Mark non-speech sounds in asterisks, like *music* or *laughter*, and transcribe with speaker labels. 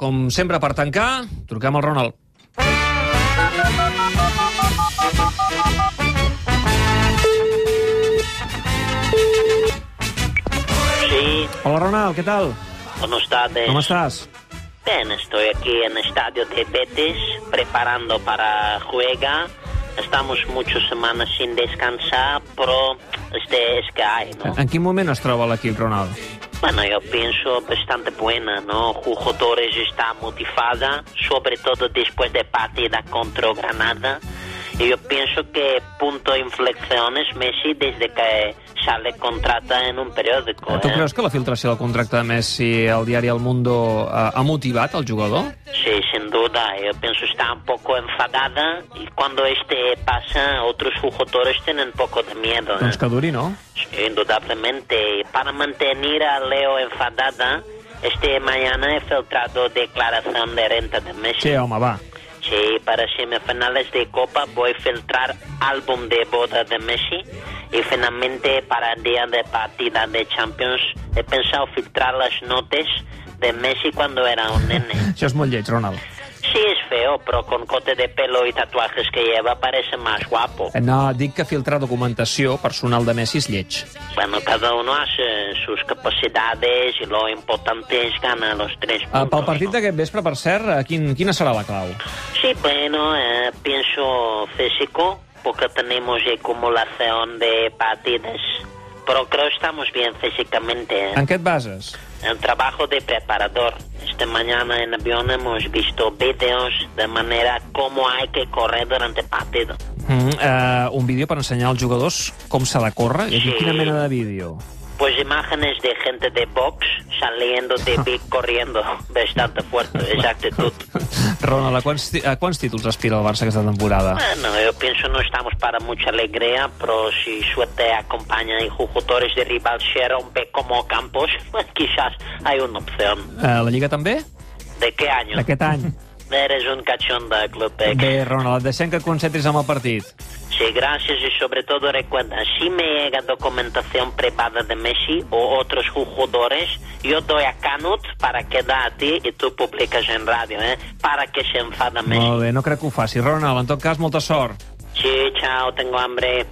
Speaker 1: com sempre, per tancar, truquem al Ronald.
Speaker 2: Sí,
Speaker 1: Hola, Ronald, què tal?
Speaker 2: buenas tardes.
Speaker 1: Com estàs?
Speaker 2: Bien, estoy aquí en el estadio de Betis preparando para juega. Estamos muchas semanas sin descansar, pero este es que hay, ¿no?
Speaker 1: En quin moment es troba l'equip, Ronald?
Speaker 2: Bueno, yo pienso bastante buena, ¿no? Jugadores está motivada, sobre todo después de partida contra Granada. Y yo pienso que punto de inflexión es Messi desde que sale contrata en un periódico.
Speaker 1: Tu
Speaker 2: ¿eh?
Speaker 1: creus que la filtració del contracte de Messi al diari El Mundo eh, ha motivat el jugador?
Speaker 2: Sí, sin duda. Yo pienso está un poco um enfadada y cuando este é pasa, otros jugadores tienen un poco de miedo. ¿eh?
Speaker 1: Doncs que duri, no?
Speaker 2: Sí, indudablemente. Y Para mantener a Leo enfadada, este mañana he filtrado declaración de renta de Messi.
Speaker 1: Sí, home, va.
Speaker 2: Sí, para semifinales de Copa voy a filtrar álbum de boda de Messi y finalmente para el día de partida de Champions he pensado filtrar las notas de Messi cuando era un nene.
Speaker 1: Això és molt lleig, Ronald.
Speaker 2: Sí, es feo, pero con corte de pelo y tatuajes que lleva parece más guapo.
Speaker 1: Eh, No, dic que filtrar documentació personal de Messi és lleig.
Speaker 2: Bueno, cada uno hace sus capacidades y lo importante es ganar los tres
Speaker 1: Eh,
Speaker 2: puntos.
Speaker 1: pel partit
Speaker 2: ¿no?
Speaker 1: d'aquest vespre, per cert, eh, quin, quina serà la clau?
Speaker 2: Sí, bueno, eh, pienso físico, porque tenemos acumulación de partidas, pero creo que estamos bien físicamente. ¿eh?
Speaker 1: En què et bases?
Speaker 2: El trabajo de preparador. Esta mañana en avión hemos visto vídeos de manera cómo hay que correr durante el partido.
Speaker 1: Mm, eh, un vídeo per ensenyar als jugadors com s'ha de córrer? I aquí
Speaker 2: Sí.
Speaker 1: quina mena de vídeo?
Speaker 2: Pues imágenes de gente de box saliendo de Big corriendo bastante fuerte, esa actitud.
Speaker 1: Ronald, a quants, ti- a quants títols aspira el Barça aquesta temporada?
Speaker 2: Bueno, yo pienso no estamos para mucha alegría, pero si suerte acompaña y jugadores de rival se rompe como Campos, *laughs* pues quizás hay una opción.
Speaker 1: Eh, la Lliga també?
Speaker 2: ¿De qué año?
Speaker 1: D'aquest any?
Speaker 2: Eres un cachón de Club Ex.
Speaker 1: Bé, Ronald, et deixem que et concentris en el partit.
Speaker 2: Sí, gracias y sobre todo recuerda, si me llega documentación privada de Messi o otros jugadores, yo doy a Canut para que da a ti y tú publicas en radio, ¿eh? Para que se enfada Messi.
Speaker 1: Molt bé, no crec que ho faci. Ronald, en tot cas, molta sort.
Speaker 2: Sí, chao, tengo hambre.